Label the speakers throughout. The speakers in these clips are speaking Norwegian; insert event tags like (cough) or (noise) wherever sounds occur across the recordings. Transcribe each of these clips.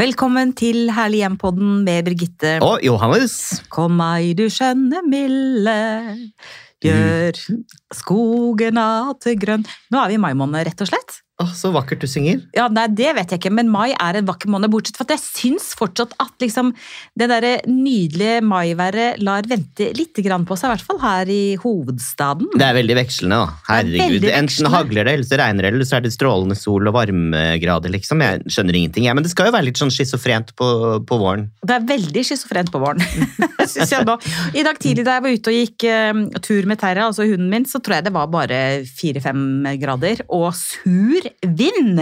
Speaker 1: Velkommen til Herlig hjem-podden med Birgitte.
Speaker 2: Og Johannes.
Speaker 1: Kom meg, du skjønne milde, gjør skogen til grønn. Nå er vi i mai måned, rett og slett.
Speaker 2: Å, så vakkert du synger.
Speaker 1: Ja, nei, det vet jeg ikke, men mai er en vakker måned, bortsett fra at jeg syns fortsatt at liksom, det derre nydelige maiværet lar vente litt grann på seg, i hvert fall her i hovedstaden.
Speaker 2: Det er veldig vekslende, da.
Speaker 1: Det er
Speaker 2: Herregud.
Speaker 1: veldig
Speaker 2: Enten
Speaker 1: vekslende.
Speaker 2: hagler det, eller så regner det, eller så er det strålende sol og varmegrader, liksom. Jeg skjønner ingenting, jeg. Men det skal jo være litt sånn schizofrent på, på våren.
Speaker 1: Det er veldig schizofrent på våren. synes (laughs) jeg nå. I dag tidlig da jeg var ute og gikk eh, tur med Terra, altså hunden min, så tror jeg det var bare fire-fem grader og sur vind.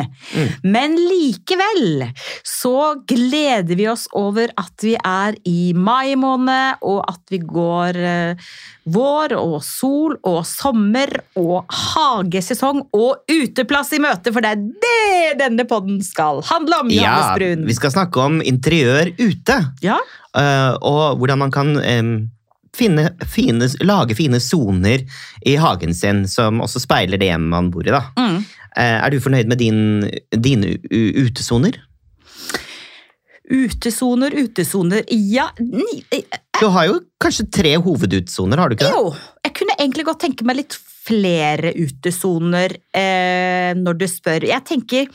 Speaker 1: Men likevel så gleder vi oss over at vi er i mai måned, og at vi går eh, vår og sol og sommer og hagesesong og uteplass i møte, for det er det denne podden skal handle om, Johannes Brun.
Speaker 2: vi skal snakke om interiør ute,
Speaker 1: Ja,
Speaker 2: eh, og hvordan man kan em, finne, fine, lage fine soner i hagen sin, som også speiler det hjemmet man bor i, da.
Speaker 1: mm.
Speaker 2: Eh, er du fornøyd med din, dine u- utesoner?
Speaker 1: Utesoner, utesoner Ja, ni, eh,
Speaker 2: Du har jo kanskje tre hovedutsoner, har du ikke det?
Speaker 1: jo. Jeg kunne egentlig godt tenke meg litt flere utesoner eh, når du spør. Jeg tenker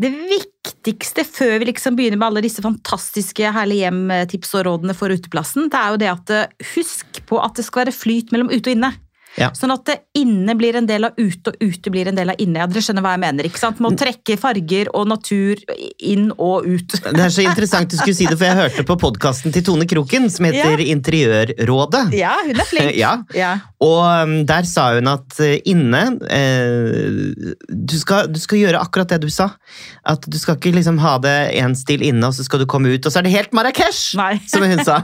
Speaker 1: det viktigste før vi liksom begynner med alle disse fantastiske herlige hjem-tips og rådene for uteplassen, det er jo det at eh, husk på at det skal være flyt mellom ute og inne.
Speaker 2: Ja.
Speaker 1: Sånn at det inne blir en del av ute, og ute blir en del av inne. Ja, dere skjønner hva jeg mener, ikke sant? Må trekke farger og natur inn og ut.
Speaker 2: Det er så interessant du skulle si det, for jeg hørte på podkasten til Tone Kroken, som heter Interiørrådet.
Speaker 1: Ja, hun er
Speaker 2: (laughs)
Speaker 1: flink.
Speaker 2: Ja.
Speaker 1: ja.
Speaker 2: Og um, der sa hun at eh, inne eh, du, skal, du skal gjøre akkurat det du sa. At du skal ikke liksom ha det én stil inne, og så skal du komme ut, og så er det helt Marrakech!
Speaker 1: Nei.
Speaker 2: Som
Speaker 1: (laughs)
Speaker 2: hun sa.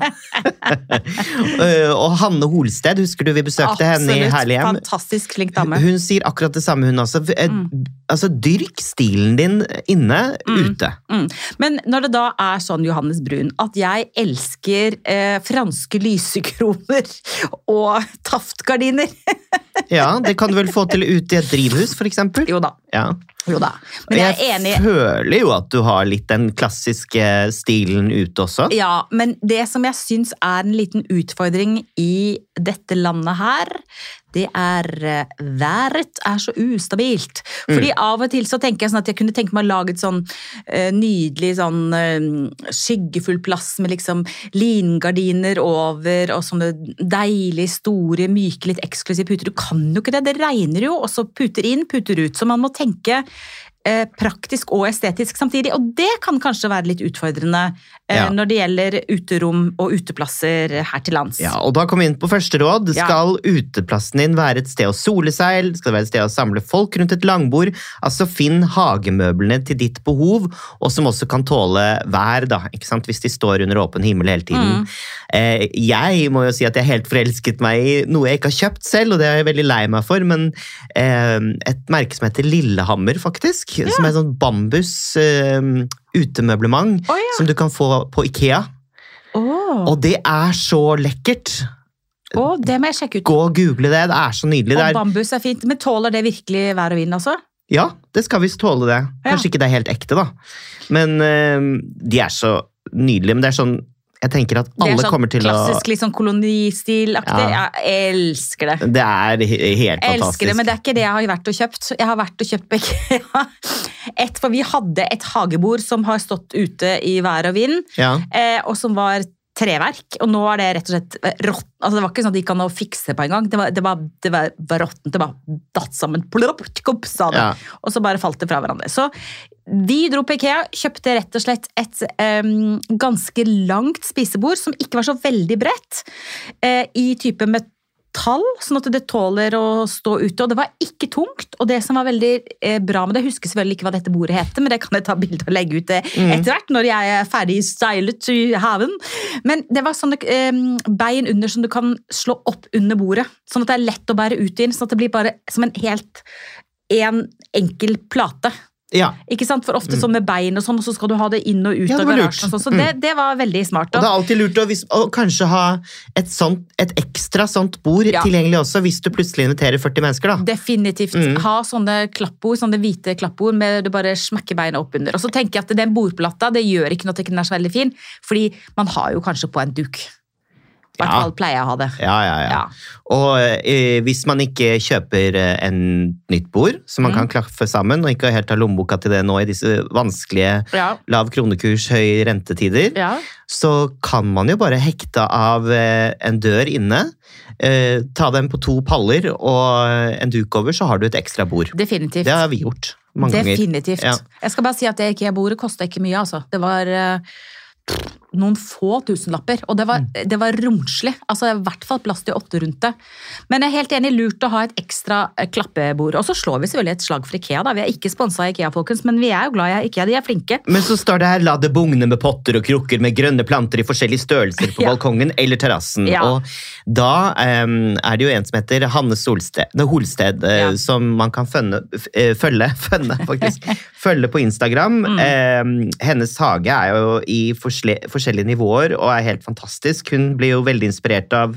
Speaker 2: Eh, og Hanne Holsted, husker du vi besøkte henne i Herlig hjem?
Speaker 1: Fantastisk flink dame. Mm.
Speaker 2: Hun sier akkurat det samme, hun også. Eh, Altså, dyrk stilen din inne, ute.
Speaker 1: Mm. Men når det da er sånn, Johannes Brun, at jeg elsker eh, franske lysekroner (laughs) og taftgardiner
Speaker 2: Ja, det kan du vel få til ute i et drivhus, for eksempel.
Speaker 1: Jo da.
Speaker 2: Ja.
Speaker 1: Jo da. Men jeg er enig.
Speaker 2: føler jo at du har litt den klassiske stilen ute også.
Speaker 1: Ja, men det som jeg syns er en liten utfordring i dette landet her, det er eh, været er så ustabilt.
Speaker 2: Mm.
Speaker 1: Fordi av og til så tenker jeg sånn at jeg kunne tenke meg å lage et sånn eh, nydelig sånn eh, skyggefull plass med liksom lingardiner over og sånne deilige, store, myke, litt eksklusive puter. Du kan jo ikke det, det regner jo, og så puter inn, puter ut. Så man må tenke eh, praktisk og estetisk samtidig, og det kan kanskje være litt utfordrende eh,
Speaker 2: Ja.
Speaker 1: når det gjelder uterom og uteplasser her til lands.
Speaker 2: Ja, og da kommer vi inn på første råd.
Speaker 1: Ja.
Speaker 2: Skal uteplassen din være et sted å sole seg, eller skal det være et sted å samle folk rundt et langbord? Altså, finn hagemøblene til ditt behov, og som også kan tåle vær, da, ikke sant? hvis de står under åpen himmel hele
Speaker 1: Mm.
Speaker 2: tiden. Eh, jeg må jo si at jeg helt forelsket meg i noe jeg ikke har kjøpt selv, og det er jeg veldig lei meg for, men eh, et merke som heter Lillehammer, faktisk, som er sånn bambus eh, utemøblement,
Speaker 1: Å, ja.
Speaker 2: som du kan få på Ikea.
Speaker 1: Åh,
Speaker 2: Og det er så lekkert!
Speaker 1: åh, det må jeg sjekke ut.
Speaker 2: Gå og google det. Det er så nydelig.
Speaker 1: Og
Speaker 2: Det er,
Speaker 1: bambus er fint, men tåler det virkelig vær og vind, altså?
Speaker 2: ja, det skal visst tåle det.
Speaker 1: Ja.
Speaker 2: Kanskje ikke det er helt ekte, da. Men eh, de er så nydelige. Men det er sånn Jeg tenker at alle
Speaker 1: det er sånn
Speaker 2: kommer til
Speaker 1: klassisk litt sånn kolonistilaktig.
Speaker 2: Ja.
Speaker 1: Jeg elsker det.
Speaker 2: å Det er he- helt
Speaker 1: Jeg
Speaker 2: fantastisk.
Speaker 1: elsker det, men det er ikke det jeg har vært og kjøpt. Jeg har vært og kjøpt begge. (laughs) Ja. Et, for vi hadde et hagebord som har stått ute i vær og vind,
Speaker 2: Ja.
Speaker 1: eh, og som var treverk, og nå er det rett og slett eh, rått. Altså, det var ikke sånn at de gikk an å fikse på en gang. Det var, det var, det var, var råttent, det bare datt sammen. Plopp, kopp, sa det.
Speaker 2: Ja.
Speaker 1: Og så bare falt det fra hverandre. Så vi dro på Ikea, kjøpte rett og slett et em, ganske langt spisebord, som ikke var så veldig bredt, eh, i type metall, sånn at det tåler å stå ute. Og det var ikke tungt, og det som var veldig eh, bra med det, jeg husker selvfølgelig ikke hva dette bordet heter, men det kan jeg ta bilde og legge ut det etter hvert, når jeg er ferdig stylet i haven. Men det var sånne em, bein under som du kan slå opp under bordet, sånn at det er lett å bære ut inn, sånn at det blir bare som en helt en enkel plate.
Speaker 2: Ja.
Speaker 1: Ikke sant? For ofte sånn med bein og sånn, og så skal du ha det inn og ut
Speaker 2: Mm. Ja, det
Speaker 1: av
Speaker 2: var lurt. Mm.
Speaker 1: garasjen. Og sånn, så det, det var veldig smart.
Speaker 2: Og
Speaker 1: Da.
Speaker 2: det er alltid lurt å, hvis, å kanskje ha et, sånt, et ekstra sånt bord
Speaker 1: Ja.
Speaker 2: tilgjengelig også, hvis du plutselig inviterer 40 mennesker, da. Mm.
Speaker 1: Definitivt. Ha sånne klappord, sånne hvite klappord med du bare smekker beina opp under. Og så tenker jeg at den bordplata, det gjør ikke noe at den er så veldig fin, fordi man har jo kanskje på en duk. I hvert
Speaker 2: Ja.
Speaker 1: fall pleier jeg å ha det.
Speaker 2: Ja, ja, ja.
Speaker 1: Ja.
Speaker 2: Og eh, hvis man ikke kjøper eh, en nytt bord, som man
Speaker 1: Mm.
Speaker 2: kan klaffe sammen, og ikke helt har lommeboka til det nå i disse vanskelige
Speaker 1: Ja.
Speaker 2: lav kronekurs, høy rentetider,
Speaker 1: Ja.
Speaker 2: så kan man jo bare hekte av eh, en dør inne, eh, ta den på to paller og en duk over, så har du et ekstra bord.
Speaker 1: Definitivt.
Speaker 2: Det har vi gjort mange ganger.
Speaker 1: Definitivt.
Speaker 2: Ja.
Speaker 1: Jeg skal bare si at det IKEA-bordet kosta ikke mye, altså. Det var eh, pff, noen få tusenlapper, og det var,
Speaker 2: Mm.
Speaker 1: det var romslig. Altså, I hvert fall plass til åtte rundt det. Men jeg er helt enig, lurt å ha et ekstra eh, klappebord. Og så slår vi selvfølgelig et slag for IKEA, da. Vi er ikke sponsa av IKEA, folkens, men vi er jo glad i IKEA. De er flinke.
Speaker 2: Men så står det her 'la det bugne med potter og krukker med grønne planter i forskjellige størrelser på
Speaker 1: Ja.
Speaker 2: balkongen eller terrassen'.
Speaker 1: Ja.
Speaker 2: Og da em, er det jo en som heter Hanne Solsted, nei, Holsted, eh,
Speaker 1: Ja.
Speaker 2: som man kan fønne, f- eh, følge, (laughs) fønne,
Speaker 1: (laughs)
Speaker 2: faktisk, følge på Instagram.
Speaker 1: Mm.
Speaker 2: Em, hennes hage er jo i forsle, forskjellige nivåer og er helt fantastisk. Hun blir jo veldig inspirert av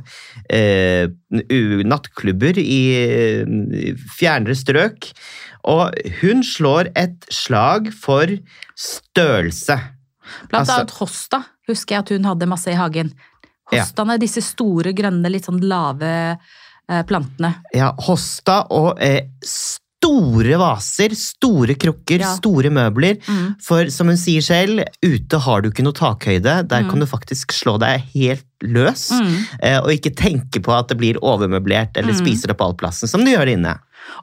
Speaker 2: eh, u- nattklubber i eh, fjernere strøk. Og hun slår et slag for størrelse.
Speaker 1: Blant
Speaker 2: Altså-
Speaker 1: annet Hosta husker jeg at hun hadde masse i hagen. Hostaene, disse store, grønne, litt sånn lave eh, plantene.
Speaker 2: Ja, hosta og eh, store vaser, store krukker,
Speaker 1: Ja.
Speaker 2: store møbler.
Speaker 1: Mm.
Speaker 2: For som hun sier selv, ute har du ikke noe takhøyde. Der kan du faktisk slå deg helt løs.
Speaker 1: Mm.
Speaker 2: Eh, og ikke tenke på at det blir overmøblert eller spiser opp all plassen, som det gjør inne.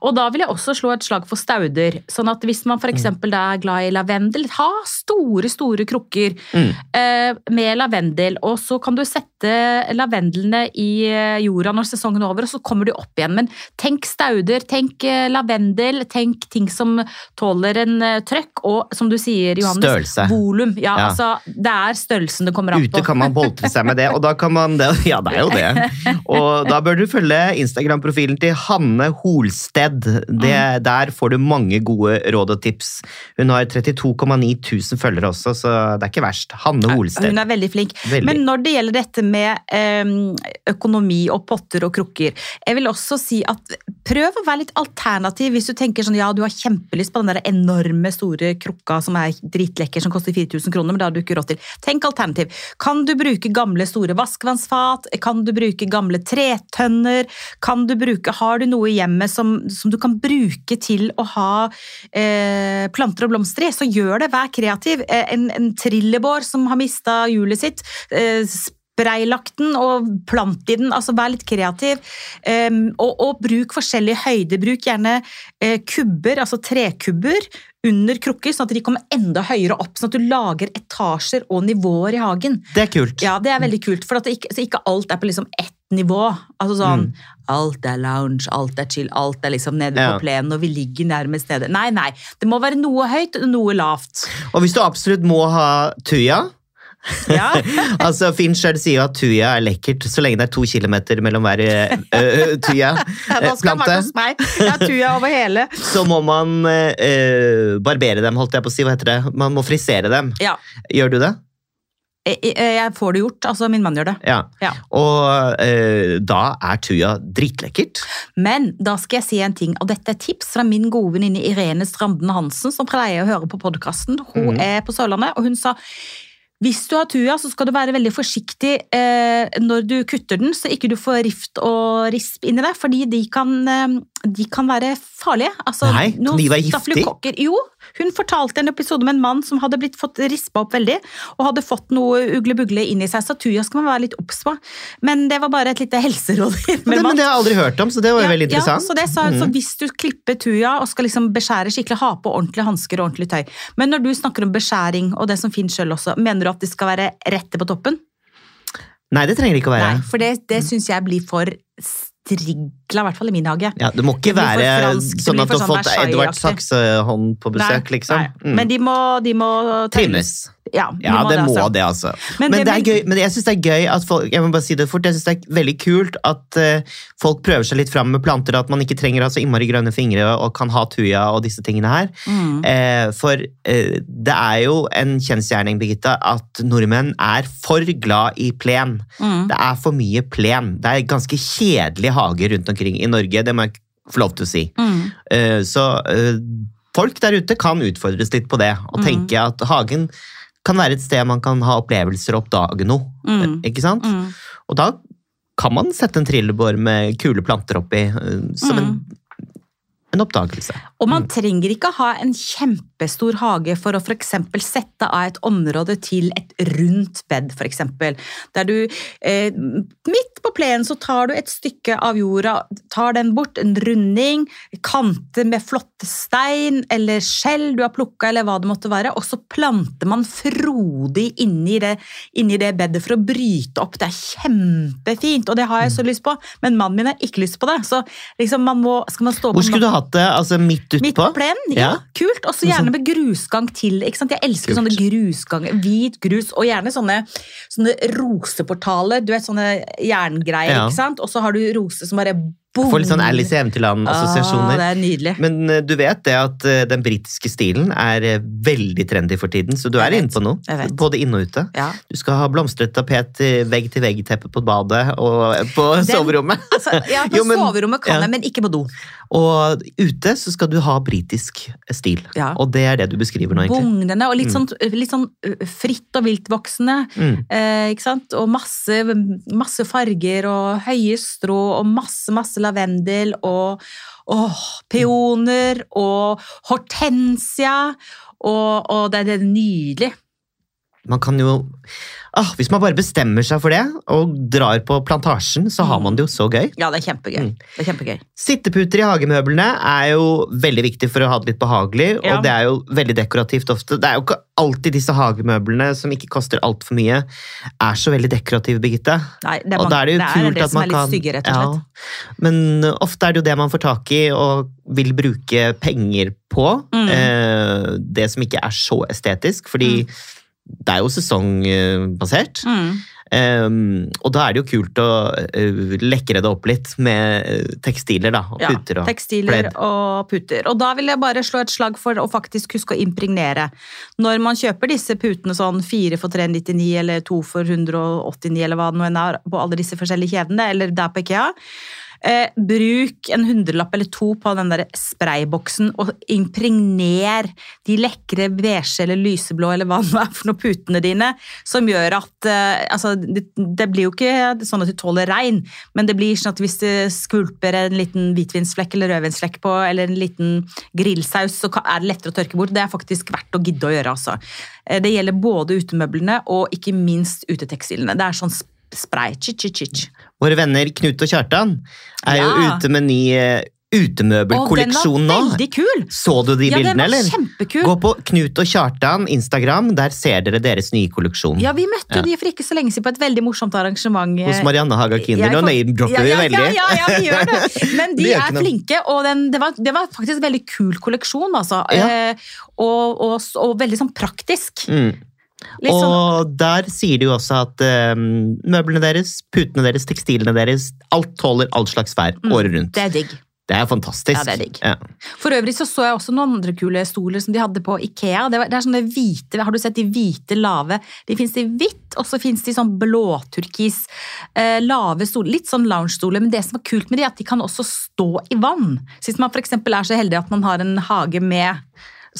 Speaker 1: Og da vil jeg også slå et slag for stauder. Sånn at hvis man
Speaker 2: Mm.
Speaker 1: f.eks. da er glad i lavendel, ha store, store krukker
Speaker 2: Mm.
Speaker 1: eh, med lavendel. Og så kan du sette lavendelene i eh, jorda når sesongen er over, og så kommer de opp igjen. Men tenk stauder, tenk eh, lavendel, tenk ting som tåler en eh, trøkk, og som du sier, Johannes,
Speaker 2: Størrelse.
Speaker 1: volum. Ja,
Speaker 2: Ja.
Speaker 1: altså det er størrelsen det kommer an på.
Speaker 2: Ute kan man boltre seg med det, og da kan man det. Ja, det er jo det. Og da bør du følge Instagram-profilen til Hanne Holsted. Det,
Speaker 1: Mm.
Speaker 2: der får du mange gode råd og tips. Hun har 38,9 000 følgere også, så det er ikke verst. Hanne Holsted.
Speaker 1: Hun er veldig flink.
Speaker 2: Veldig.
Speaker 1: Men når det gjelder dette med em, økonomi og potter og krukker, jeg vil også si at prøv å være litt alternativ hvis du tenker sånn, ja, du har kjempelyst på den der enorme store krukka som er dritlekker, som koster 4000 kroner, men det har du ikke råd til. Tenk alternativ. Kan du bruke gamle store vaskevannsfat? Kan du bruke gamle tretønner? Kan du bruke, har du noe i hjemmet som, som du kan bruke til å ha eh, planter og blomster i, så gjør det. Vær kreativ. Eh, en, en trillebår som har mista hjulet sitt. Eh, Spreilagt den og plant i den. altså Vær litt kreativ. Em, og, og bruk forskjellig høyde. Bruk gjerne eh, kubber, altså trekubber, under krukker, sånn at de kommer enda høyere opp. Sånn at du lager etasjer og nivåer i hagen.
Speaker 2: Det er kult.
Speaker 1: Ja, det er veldig kult, for at det ikke, så ikke alt er på liksom ett nivå. Altså sånn,
Speaker 2: Mm.
Speaker 1: Alt er lounge, alt er chill, alt er liksom nede
Speaker 2: Ja.
Speaker 1: på plenen, og vi ligger nærmest nede. Nei, nei, det må være noe høyt og noe lavt.
Speaker 2: Og hvis du absolutt må ha tuja (laughs)
Speaker 1: Ja,
Speaker 2: altså Finn sjøl sier jo at tuja er lekkert så lenge det er to kilometer mellom hver eh, eh,
Speaker 1: (laughs)
Speaker 2: tuja.
Speaker 1: Da skal den
Speaker 2: plante.
Speaker 1: være sånn. hos meg. Jeg har tuja over hele.
Speaker 2: Så må man eh, eh, barbere dem, holdt jeg på å si. Hva heter det? Man må frisere dem.
Speaker 1: Ja,
Speaker 2: Gjør du det?
Speaker 1: jeg, jeg- Eh, jeg får det gjort, altså min mann gjør det.
Speaker 2: Ja.
Speaker 1: Ja.
Speaker 2: Og eh, da er tuja dritlekkert.
Speaker 1: Men da skal jeg si en ting, og dette er tips fra min gode venninne Irene Stranden Hansen, som pleier å høre på podkasten. Hun
Speaker 2: Mhm.
Speaker 1: er på Sørlandet, og hun sa hvis du har tuja, så skal du være veldig forsiktig eh, når du kutter den, så ikke du får rift og risp inni deg, fordi de kan, eh, de kan være farlige. Altså,
Speaker 2: Nei, kan
Speaker 1: noen
Speaker 2: de være giftig?
Speaker 1: stafylokokker- Jo, hun fortalte en episode med en mann som hadde blitt fått rispa opp veldig, og hadde fått noe uglebugle inni seg, så tuja skal man være litt obs på. Men det var bare et lite helseråd.
Speaker 2: Men det, men det har jeg aldri hørt om, så det var jo
Speaker 1: Ja, Ja,
Speaker 2: veldig interessant. Mm.
Speaker 1: så det sa hun. Så hvis du klipper tuja og skal liksom beskjære skikkelig, ha på ordentlige hansker og ordentlig tøy. Men når du snakker om beskjæring og det som finnes sjøl også, mener du at de skal være rette på toppen?
Speaker 2: Nei, det trenger det ikke å være.
Speaker 1: Nei, for det, det syns jeg blir for strigla, i hvert fall i min hage.
Speaker 2: Ja, det må ikke
Speaker 1: Det blir for
Speaker 2: være
Speaker 1: fransk, det
Speaker 2: sånn
Speaker 1: blir
Speaker 2: at du har
Speaker 1: for sånn
Speaker 2: fått
Speaker 1: Versailles-aktig.
Speaker 2: Edvard Saksehånd på besøk,
Speaker 1: Nei,
Speaker 2: liksom.
Speaker 1: nei. Men de må, de må
Speaker 2: Trimmes.
Speaker 1: Ja, vi
Speaker 2: Ja, det må
Speaker 1: altså.
Speaker 2: det, altså.
Speaker 1: Men
Speaker 2: Men,
Speaker 1: det
Speaker 2: det er
Speaker 1: blir-
Speaker 2: gøy, men jeg syns det er gøy at folk Jeg må bare si det fort, jeg synes det er veldig kult at eh, folk prøver seg litt fram med planter, at man ikke trenger å ha så innmari grønne fingre og kan ha tuja og disse tingene her.
Speaker 1: Mm.
Speaker 2: Eh, for eh, det er jo en kjensgjerning, Birgitta, at nordmenn er for glad i plen.
Speaker 1: Mm.
Speaker 2: Det er for mye plen. Det er ganske kjedelige hager rundt omkring i Norge, det må jeg få lov til å si.
Speaker 1: Mm.
Speaker 2: Eh, Så eh, folk der ute kan utfordres litt på det, og
Speaker 1: Mhm.
Speaker 2: tenke at hagen kan være et sted man kan ha opplevelser og oppdage noe. Eh,
Speaker 1: Mm.
Speaker 2: Ikke sant?
Speaker 1: Mm.
Speaker 2: Og da kan man sette en trillebår med kule planter oppi, eh, som en, en oppdagelse.
Speaker 1: Mm. Og man trenger ikke ha en kjempestor hage for å f.eks. sette av et område til et rundt bed, f.eks. Der du eh, midt på plenen så tar du et stykke av jorda, tar den bort, en runding, kanter med flotte stein eller skjell du har plukka eller hva det måtte være, og så planter man frodig inni det, inni det bedet for å bryte opp. Det er kjempefint, og det har jeg så lyst på, men mannen min har ikke lyst på det. Så liksom man må, skal man stå på
Speaker 2: Hvor skulle du hatt det? Altså midt
Speaker 1: Midt
Speaker 2: utpå?
Speaker 1: på plenen, ja.
Speaker 2: Ja.
Speaker 1: Kult. Og så gjerne med grusgang til. Ikke sant? Jeg elsker
Speaker 2: Kult.
Speaker 1: sånne grusganger. Hvit grus, og gjerne sånne, sånne roseportaler. Du vet, sånne jerngreier,
Speaker 2: Ja.
Speaker 1: ikke sant? Og så har du roser som bare boom.
Speaker 2: Får litt sånn Alice i
Speaker 1: Ah,
Speaker 2: Eventyrland-assosiasjoner.
Speaker 1: det er nydelig.
Speaker 2: Men eh, du vet det at eh, den britiske stilen er eh, veldig trendy for tiden, så du
Speaker 1: Jeg
Speaker 2: er
Speaker 1: vet.
Speaker 2: inne på noe.
Speaker 1: Jeg vet.
Speaker 2: Både inne og ute.
Speaker 1: Ja.
Speaker 2: Du skal ha blomstret tapet eh, til vegg-til-vegg-teppe på badet og eh, på soverommet.
Speaker 1: Altså, ja, på
Speaker 2: (laughs) Jo, men-
Speaker 1: soverommet kan
Speaker 2: ja.
Speaker 1: jeg, men ikke på do.
Speaker 2: Og ute så skal du ha britisk eh, stil.
Speaker 1: Ja.
Speaker 2: Og det er det du beskriver nå, egentlig.
Speaker 1: Bugnende og litt sånn, litt sånn ø, fritt og viltvoksende.
Speaker 2: Mm.
Speaker 1: Eh, ikke sant? Og masse, masse farger og høye strå og masse, masse lavendel og åh, peoner og hortensia. Og, og det, det er nydelig.
Speaker 2: Man kan jo ah, Hvis man bare bestemmer seg for det og drar på plantasjen, så
Speaker 1: Mm.
Speaker 2: har man det jo så gøy.
Speaker 1: Ja, det er kjempegøy.
Speaker 2: Mm.
Speaker 1: Det er kjempegøy.
Speaker 2: Sitteputer i hagemøblene er jo veldig viktig for å ha det litt behagelig,
Speaker 1: Ja.
Speaker 2: og det er jo veldig dekorativt ofte. Det er jo ikke alltid disse hagemøblene, som ikke koster altfor mye, er så veldig dekorative, Birgitte.
Speaker 1: Nei, det
Speaker 2: og
Speaker 1: mange-
Speaker 2: da er det jo
Speaker 1: det
Speaker 2: kult
Speaker 1: en del
Speaker 2: at man
Speaker 1: som er
Speaker 2: kan
Speaker 1: litt stygge, rett og slett.
Speaker 2: Ja. Men ofte er det jo det man får tak i og vil bruke penger på.
Speaker 1: Mm.
Speaker 2: Eh, det som ikke er så estetisk, fordi det er jo sesongbasert.
Speaker 1: Mm.
Speaker 2: Eh, og da er det jo kult å eh, lekre det opp litt med eh, tekstiler da, og
Speaker 1: Ja,
Speaker 2: puter. Og.
Speaker 1: tekstiler
Speaker 2: pledd.
Speaker 1: og puter. Og da vil jeg bare slå et slag for å faktisk huske å impregnere. Når man kjøper disse putene sånn 4 for 399 eller 2 for 189 eller hva det nå enn er på alle disse forskjellige kjedene, eller der på IKEA, eh, bruk en hundrelapp eller to på den der sprayboksen og impregner de lekre beige eller lyseblå eller hva det nå er for noe putene dine, som gjør at eh, altså, det, det blir jo ikke sånn at du tåler regn, men det blir sånn at hvis det skvulper en liten hvitvinsflekk eller rødvinsflekk på, eller en liten grillsaus, så ka- er det lettere å tørke bort. Det er faktisk verdt å gidde å gjøre, altså. Eh, Det gjelder både utemøblene og ikke minst utetekstilene. Det er sånn sp- spray. Chit, chit, chit.
Speaker 2: Våre venner Knut og Kjartan er jo
Speaker 1: Ja.
Speaker 2: ute med ny eh,
Speaker 1: Og den var
Speaker 2: utemøbelkolleksjon nå.
Speaker 1: veldig kul!
Speaker 2: Så du de
Speaker 1: Ja, den
Speaker 2: bildene,
Speaker 1: var
Speaker 2: eller?
Speaker 1: kjempekul.
Speaker 2: Gå på Knut og Kjartan Instagram, der ser dere deres nye kolleksjon.
Speaker 1: Ja, vi møtte jo
Speaker 2: Ja.
Speaker 1: de for ikke så lenge siden på et veldig morsomt arrangement. eh,
Speaker 2: Hos Marianne Haga Kinder.
Speaker 1: Jeg
Speaker 2: Nå
Speaker 1: kom-
Speaker 2: name-dropper vi
Speaker 1: ja, ja,
Speaker 2: veldig.
Speaker 1: Ja, ja, ja, vi gjør det.
Speaker 2: (laughs)
Speaker 1: Men de
Speaker 2: Det gjør
Speaker 1: er
Speaker 2: ikke noe.
Speaker 1: flinke, og den, det, var, det var faktisk en veldig kul kolleksjon, altså.
Speaker 2: Ja.
Speaker 1: Eh, og, og, og veldig sånn praktisk.
Speaker 2: Mm.
Speaker 1: Litt sånn
Speaker 2: Og der sier de jo også at eh, møblene deres, putene deres, tekstilene deres, alt tåler all slags vær året
Speaker 1: Mm,
Speaker 2: rundt.
Speaker 1: Det er digg.
Speaker 2: Det er fantastisk.
Speaker 1: Ja, det er digg.
Speaker 2: Ja.
Speaker 1: For øvrig så, så jeg også noen andre kule stoler som de hadde på Ikea. Det, var, det er sånne hvite, Har du sett de hvite lave? De fins i hvitt, og så fins de sånn blåturkis. Eh, lave stoler. Litt sånn lounge-stoler. Men det som er kult med de, er at de kan også stå i vann. Så hvis man f.eks. er så heldig at man har en hage med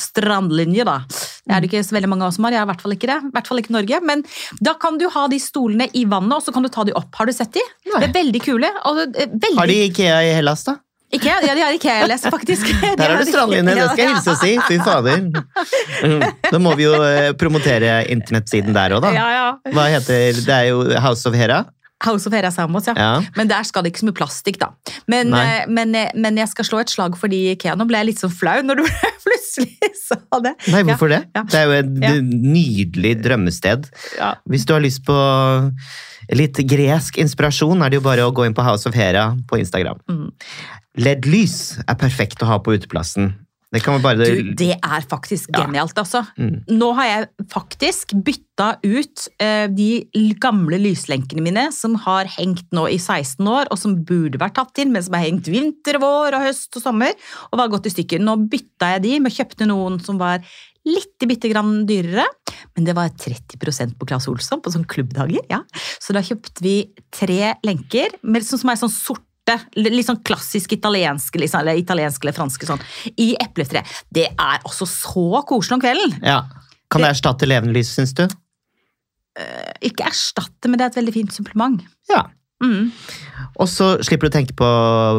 Speaker 1: strandlinje, da. Det er det ikke så veldig mange av oss som har, jeg har i hvert fall ikke det. I hvert fall ikke Norge. Men da kan du ha de stolene i vannet, og så kan du ta de opp. Har du sett de?
Speaker 2: Nei.
Speaker 1: Det er veldig kule. Og, eh, veldig
Speaker 2: Har de Ikea i Hellas, da?
Speaker 1: Ikea, ja, de har Ikea-les,
Speaker 2: (laughs)
Speaker 1: faktisk. De
Speaker 2: Der
Speaker 1: har
Speaker 2: har du strandlinje, det
Speaker 1: Ja,
Speaker 2: skal jeg
Speaker 1: ja.
Speaker 2: hilse og si. Fy fader. Mm. Da må vi jo eh, promotere internettsiden der òg, da.
Speaker 1: Ja, ja.
Speaker 2: Hva heter Det er jo House of Hera.
Speaker 1: House of Hera Samos, ja.
Speaker 2: Ja.
Speaker 1: Men der skal det ikke så mye plastikk, da. Men,
Speaker 2: Nei.
Speaker 1: eh, men, eh, men jeg skal slå et slag for de i Ikea. Nå ble jeg litt sånn flau når du (laughs) plutselig sa det.
Speaker 2: Nei, hvorfor det?
Speaker 1: ja.
Speaker 2: Det er jo et
Speaker 1: Ja.
Speaker 2: nydelig drømmested.
Speaker 1: Ja.
Speaker 2: Hvis du har lyst på litt gresk inspirasjon, er det jo bare å gå
Speaker 1: Mm.
Speaker 2: inn på House of Hera på Instagram. LED-lys er perfekt å ha på uteplassen. Det kan vi bare...
Speaker 1: Du, det er faktisk
Speaker 2: Ja.
Speaker 1: genialt, altså.
Speaker 2: Mm.
Speaker 1: Nå har jeg faktisk bytta ut eh, de l- gamle lyslenkene mine som har hengt nå i 16 år, og som burde vært tatt inn, men som har hengt vinter, vår og høst og sommer, og var gått i stykker. Nå bytta jeg de, men kjøpte noen som var litt bitte grann dyrere, men det var 30 på Claes Olsson på sånne klubbdager. ja. Så da kjøpte vi tre lenker, men sånn som er sånn sorte, litt sånn klassisk italienske, liksom, eller italienske eller franske sånn, i epletre. Det er også så koselig om kvelden.
Speaker 2: Ja. Kan det erstatte levende lys, syns du?
Speaker 1: Ikke erstatte, men det er et veldig fint supplement.
Speaker 2: Ja.
Speaker 1: Mm.
Speaker 2: Og så slipper du å tenke på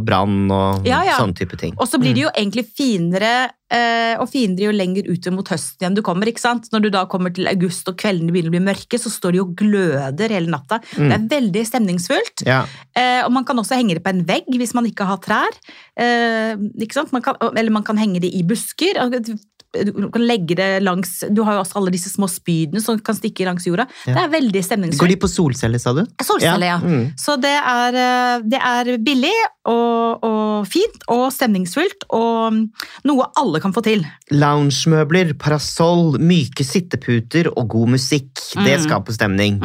Speaker 2: brann og
Speaker 1: Ja, ja.
Speaker 2: sånne type ting.
Speaker 1: Og så blir det jo egentlig finere eh, og finere jo lenger utover mot høsten igjen du kommer. ikke sant? Når du da kommer til august og kveldene begynner å bli mørke, så står de og gløder hele natta. Det er veldig stemningsfullt.
Speaker 2: Ja.
Speaker 1: Eh, og man kan også henge det på en vegg hvis man ikke har trær. Eh, ikke sant? Man kan, eller man kan henge det i busker. og Du du kan legge det langs, du har jo også alle disse små spydene som kan stikke langs jorda.
Speaker 2: Ja.
Speaker 1: Det er veldig
Speaker 2: Går
Speaker 1: stemningsfullt.
Speaker 2: de på solceller, sa du?
Speaker 1: Solceller, ja.
Speaker 2: Mm.
Speaker 1: Så det er, eh, det er billig og, og fint og stemningsfullt og noe alle kan få til.
Speaker 2: Loungemøbler, parasoll, myke sitteputer og god musikk. Det
Speaker 1: Mm.
Speaker 2: skaper stemning.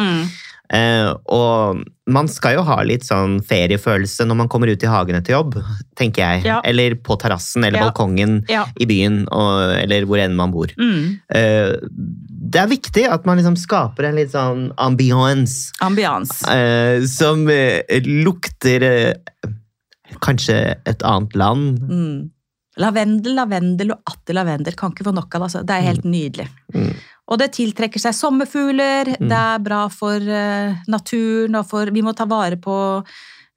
Speaker 2: Eh, og man skal jo ha litt sånn feriefølelse når man kommer ut i hagene til jobb, tenker jeg.
Speaker 1: Ja.
Speaker 2: Eller på terrassen eller
Speaker 1: Ja.
Speaker 2: balkongen
Speaker 1: Ja.
Speaker 2: i byen, og, eller hvor enn man bor.
Speaker 1: Mm.
Speaker 2: Eh, det er viktig at man liksom skaper en litt sånn ambiance
Speaker 1: Ambians.
Speaker 2: eh, som eh, lukter eh, kanskje et annet land.
Speaker 1: Mm. Lavendel, lavendel og atter lavendel. Kan ikke få nok av det. Altså. Det er helt nydelig.
Speaker 2: Mm.
Speaker 1: Og det tiltrekker seg sommerfugler, det er bra for eh, naturen og for Vi må ta vare på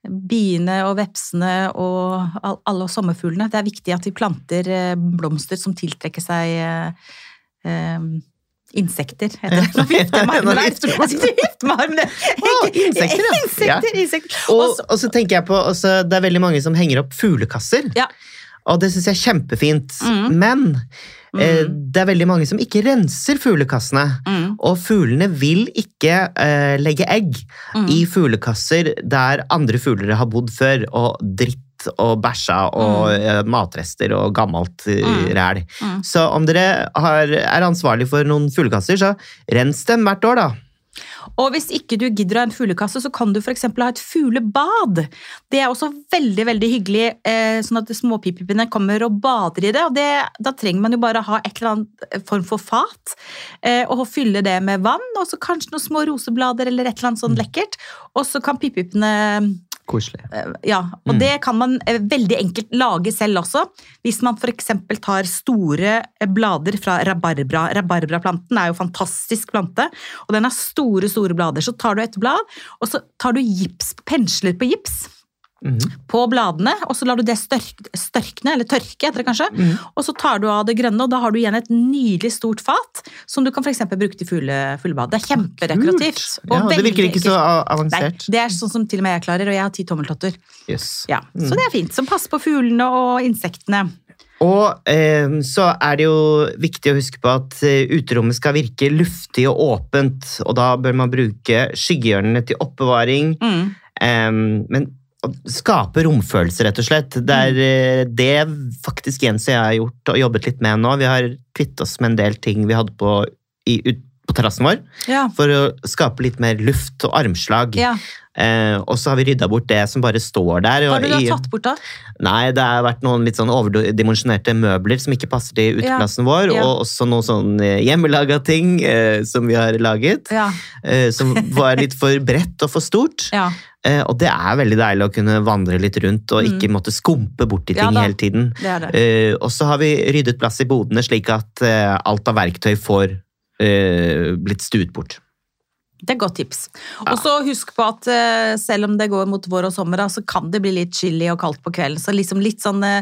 Speaker 1: biene og vepsene og all, alle sommerfuglene. Det er viktig at vi planter eh, blomster som tiltrekker seg eh, eh, Insekter, heter det. Nå vifter jeg
Speaker 2: (laughs)
Speaker 1: med
Speaker 2: Nå
Speaker 1: armen der.
Speaker 2: vifter du med
Speaker 1: (laughs) Jeg sitter og vifter med armen.
Speaker 2: Å, insekter, ja.
Speaker 1: (laughs) Insekter, insekter. Og
Speaker 2: Og,
Speaker 1: så-
Speaker 2: og så tenker jeg på, også, Det er veldig mange som henger opp fuglekasser,
Speaker 1: Ja.
Speaker 2: og det syns jeg er kjempefint.
Speaker 1: Mm.
Speaker 2: Men eh,
Speaker 1: Mm.
Speaker 2: det er veldig mange som ikke renser fuglekassene.
Speaker 1: Mm,
Speaker 2: Og fuglene vil ikke eh, legge egg
Speaker 1: mm.
Speaker 2: i fuglekasser der andre fugler har bodd før, og dritt og bæsja og eh, matrester og gammelt eh,
Speaker 1: Mm.
Speaker 2: ræl.
Speaker 1: Mm.
Speaker 2: Så om dere har, er ansvarlig for noen fuglekasser, så rens dem hvert år, da.
Speaker 1: Og hvis ikke du gidder å ha en fuglekasse, så kan du f.eks. ha et fuglebad. Det er også veldig veldig hyggelig, eh, sånn at småpipipene kommer og bader i det. og det, Da trenger man jo bare ha et eller annet form for fat, eh, og fylle det med vann, og så kanskje noen små roseblader eller et eller annet sånn lekkert. Og så kan pipipene
Speaker 2: Koselig.
Speaker 1: eh, ja, og
Speaker 2: Mm.
Speaker 1: det kan man eh, veldig enkelt lage selv også. Hvis man f.eks. tar store eh, blader fra rabarbra. Rabarbraplanten er jo en fantastisk plante, og den har store, store blader. Så tar du et blad, og så tar du gips, pensler på gips
Speaker 2: Mhm.
Speaker 1: på bladene, og så lar du det størk, størkne, eller tørke heter det kanskje,
Speaker 2: Mm.
Speaker 1: og så tar du av det grønne, og da har du igjen et nydelig stort fat, som du kan for eksempel bruke til fugle, fuglebad. Det er kjempedekorativt. og
Speaker 2: Ja, det
Speaker 1: veldig
Speaker 2: virker ikke så
Speaker 1: enkelt.
Speaker 2: a-
Speaker 1: Nei,
Speaker 2: avansert.
Speaker 1: det er sånn som til og med jeg klarer, og jeg har ti tommeltotter.
Speaker 2: Yes.
Speaker 1: Ja, Så det er fint. Som passer på fuglene og insektene.
Speaker 2: Og eh, så er det jo viktig å huske på at eh, uterommet skal virke luftig og åpent, og da bør man bruke skyggehjørnene til oppbevaring.
Speaker 1: Mm.
Speaker 2: Eh, men å skape romfølelse, rett og slett. Det
Speaker 1: Mm.
Speaker 2: er eh, det faktisk Jens og jeg har gjort og jobbet litt med nå. Vi har kvittet oss med en del ting vi hadde på, i, ut, på terrassen vår,
Speaker 1: Ja.
Speaker 2: for å skape litt mer luft og armslag.
Speaker 1: ja.
Speaker 2: Eh, og så har vi rydda bort det som bare står der.
Speaker 1: Hva
Speaker 2: og
Speaker 1: har du da
Speaker 2: i-
Speaker 1: tatt bort, da?
Speaker 2: Nei, det har vært noen litt sånn overdimensjonerte møbler som ikke passer til uteplassen vår,
Speaker 1: ja.
Speaker 2: og også noen sånn eh, hjemmelaga ting eh, som vi har laget,
Speaker 1: Ja.
Speaker 2: eh, som var litt for bredt og for stort.
Speaker 1: Ja.
Speaker 2: Eh, og det er veldig deilig å kunne vandre litt rundt og ikke måtte skumpe borti
Speaker 1: Ja
Speaker 2: ting
Speaker 1: da.
Speaker 2: hele tiden.
Speaker 1: Det er det.
Speaker 2: Eh, og så har vi ryddet plass i bodene slik at eh, alt av verktøy får eh, blitt stuet bort.
Speaker 1: Det er et godt tips. Og så husk på at eh, selv om det går mot vår og sommer, da, så kan det bli litt chilly og kaldt på kvelden. Så liksom litt sånn eh,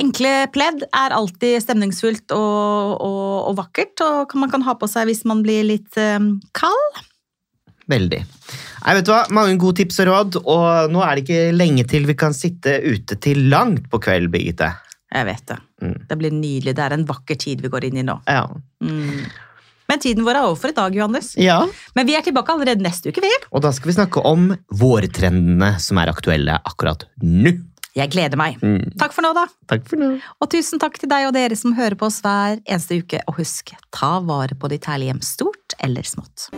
Speaker 1: Enkle pledd er alltid stemningsfullt og, og, og vakkert, og kan- man kan ha på seg hvis man blir litt eh, kald.
Speaker 2: Veldig. Nei, vet du hva? Mange gode tips og råd, og nå er det ikke lenge til vi kan sitte ute til langt på kveld, Birgitte.
Speaker 1: Jeg vet det.
Speaker 2: Mm.
Speaker 1: Det blir nydelig. Det er en vakker tid vi går inn i nå.
Speaker 2: Ja.
Speaker 1: Mm. Men tiden vår er over for i dag, Johannes. Men vi er tilbake allerede neste uke, vi.
Speaker 2: Og da skal vi snakke om vårtrendene som er aktuelle akkurat nå.
Speaker 1: Jeg gleder meg.
Speaker 2: Mm.
Speaker 1: Takk for nå, da.
Speaker 2: Takk for nå.
Speaker 1: Og tusen takk til deg og dere som hører på oss hver eneste uke. Og husk, ta vare på ditt herlige hjem, stort eller smått.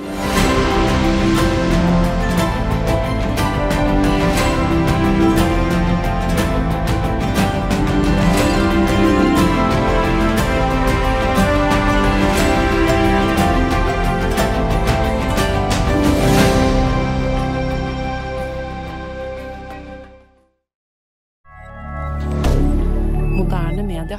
Speaker 3: Moderne media.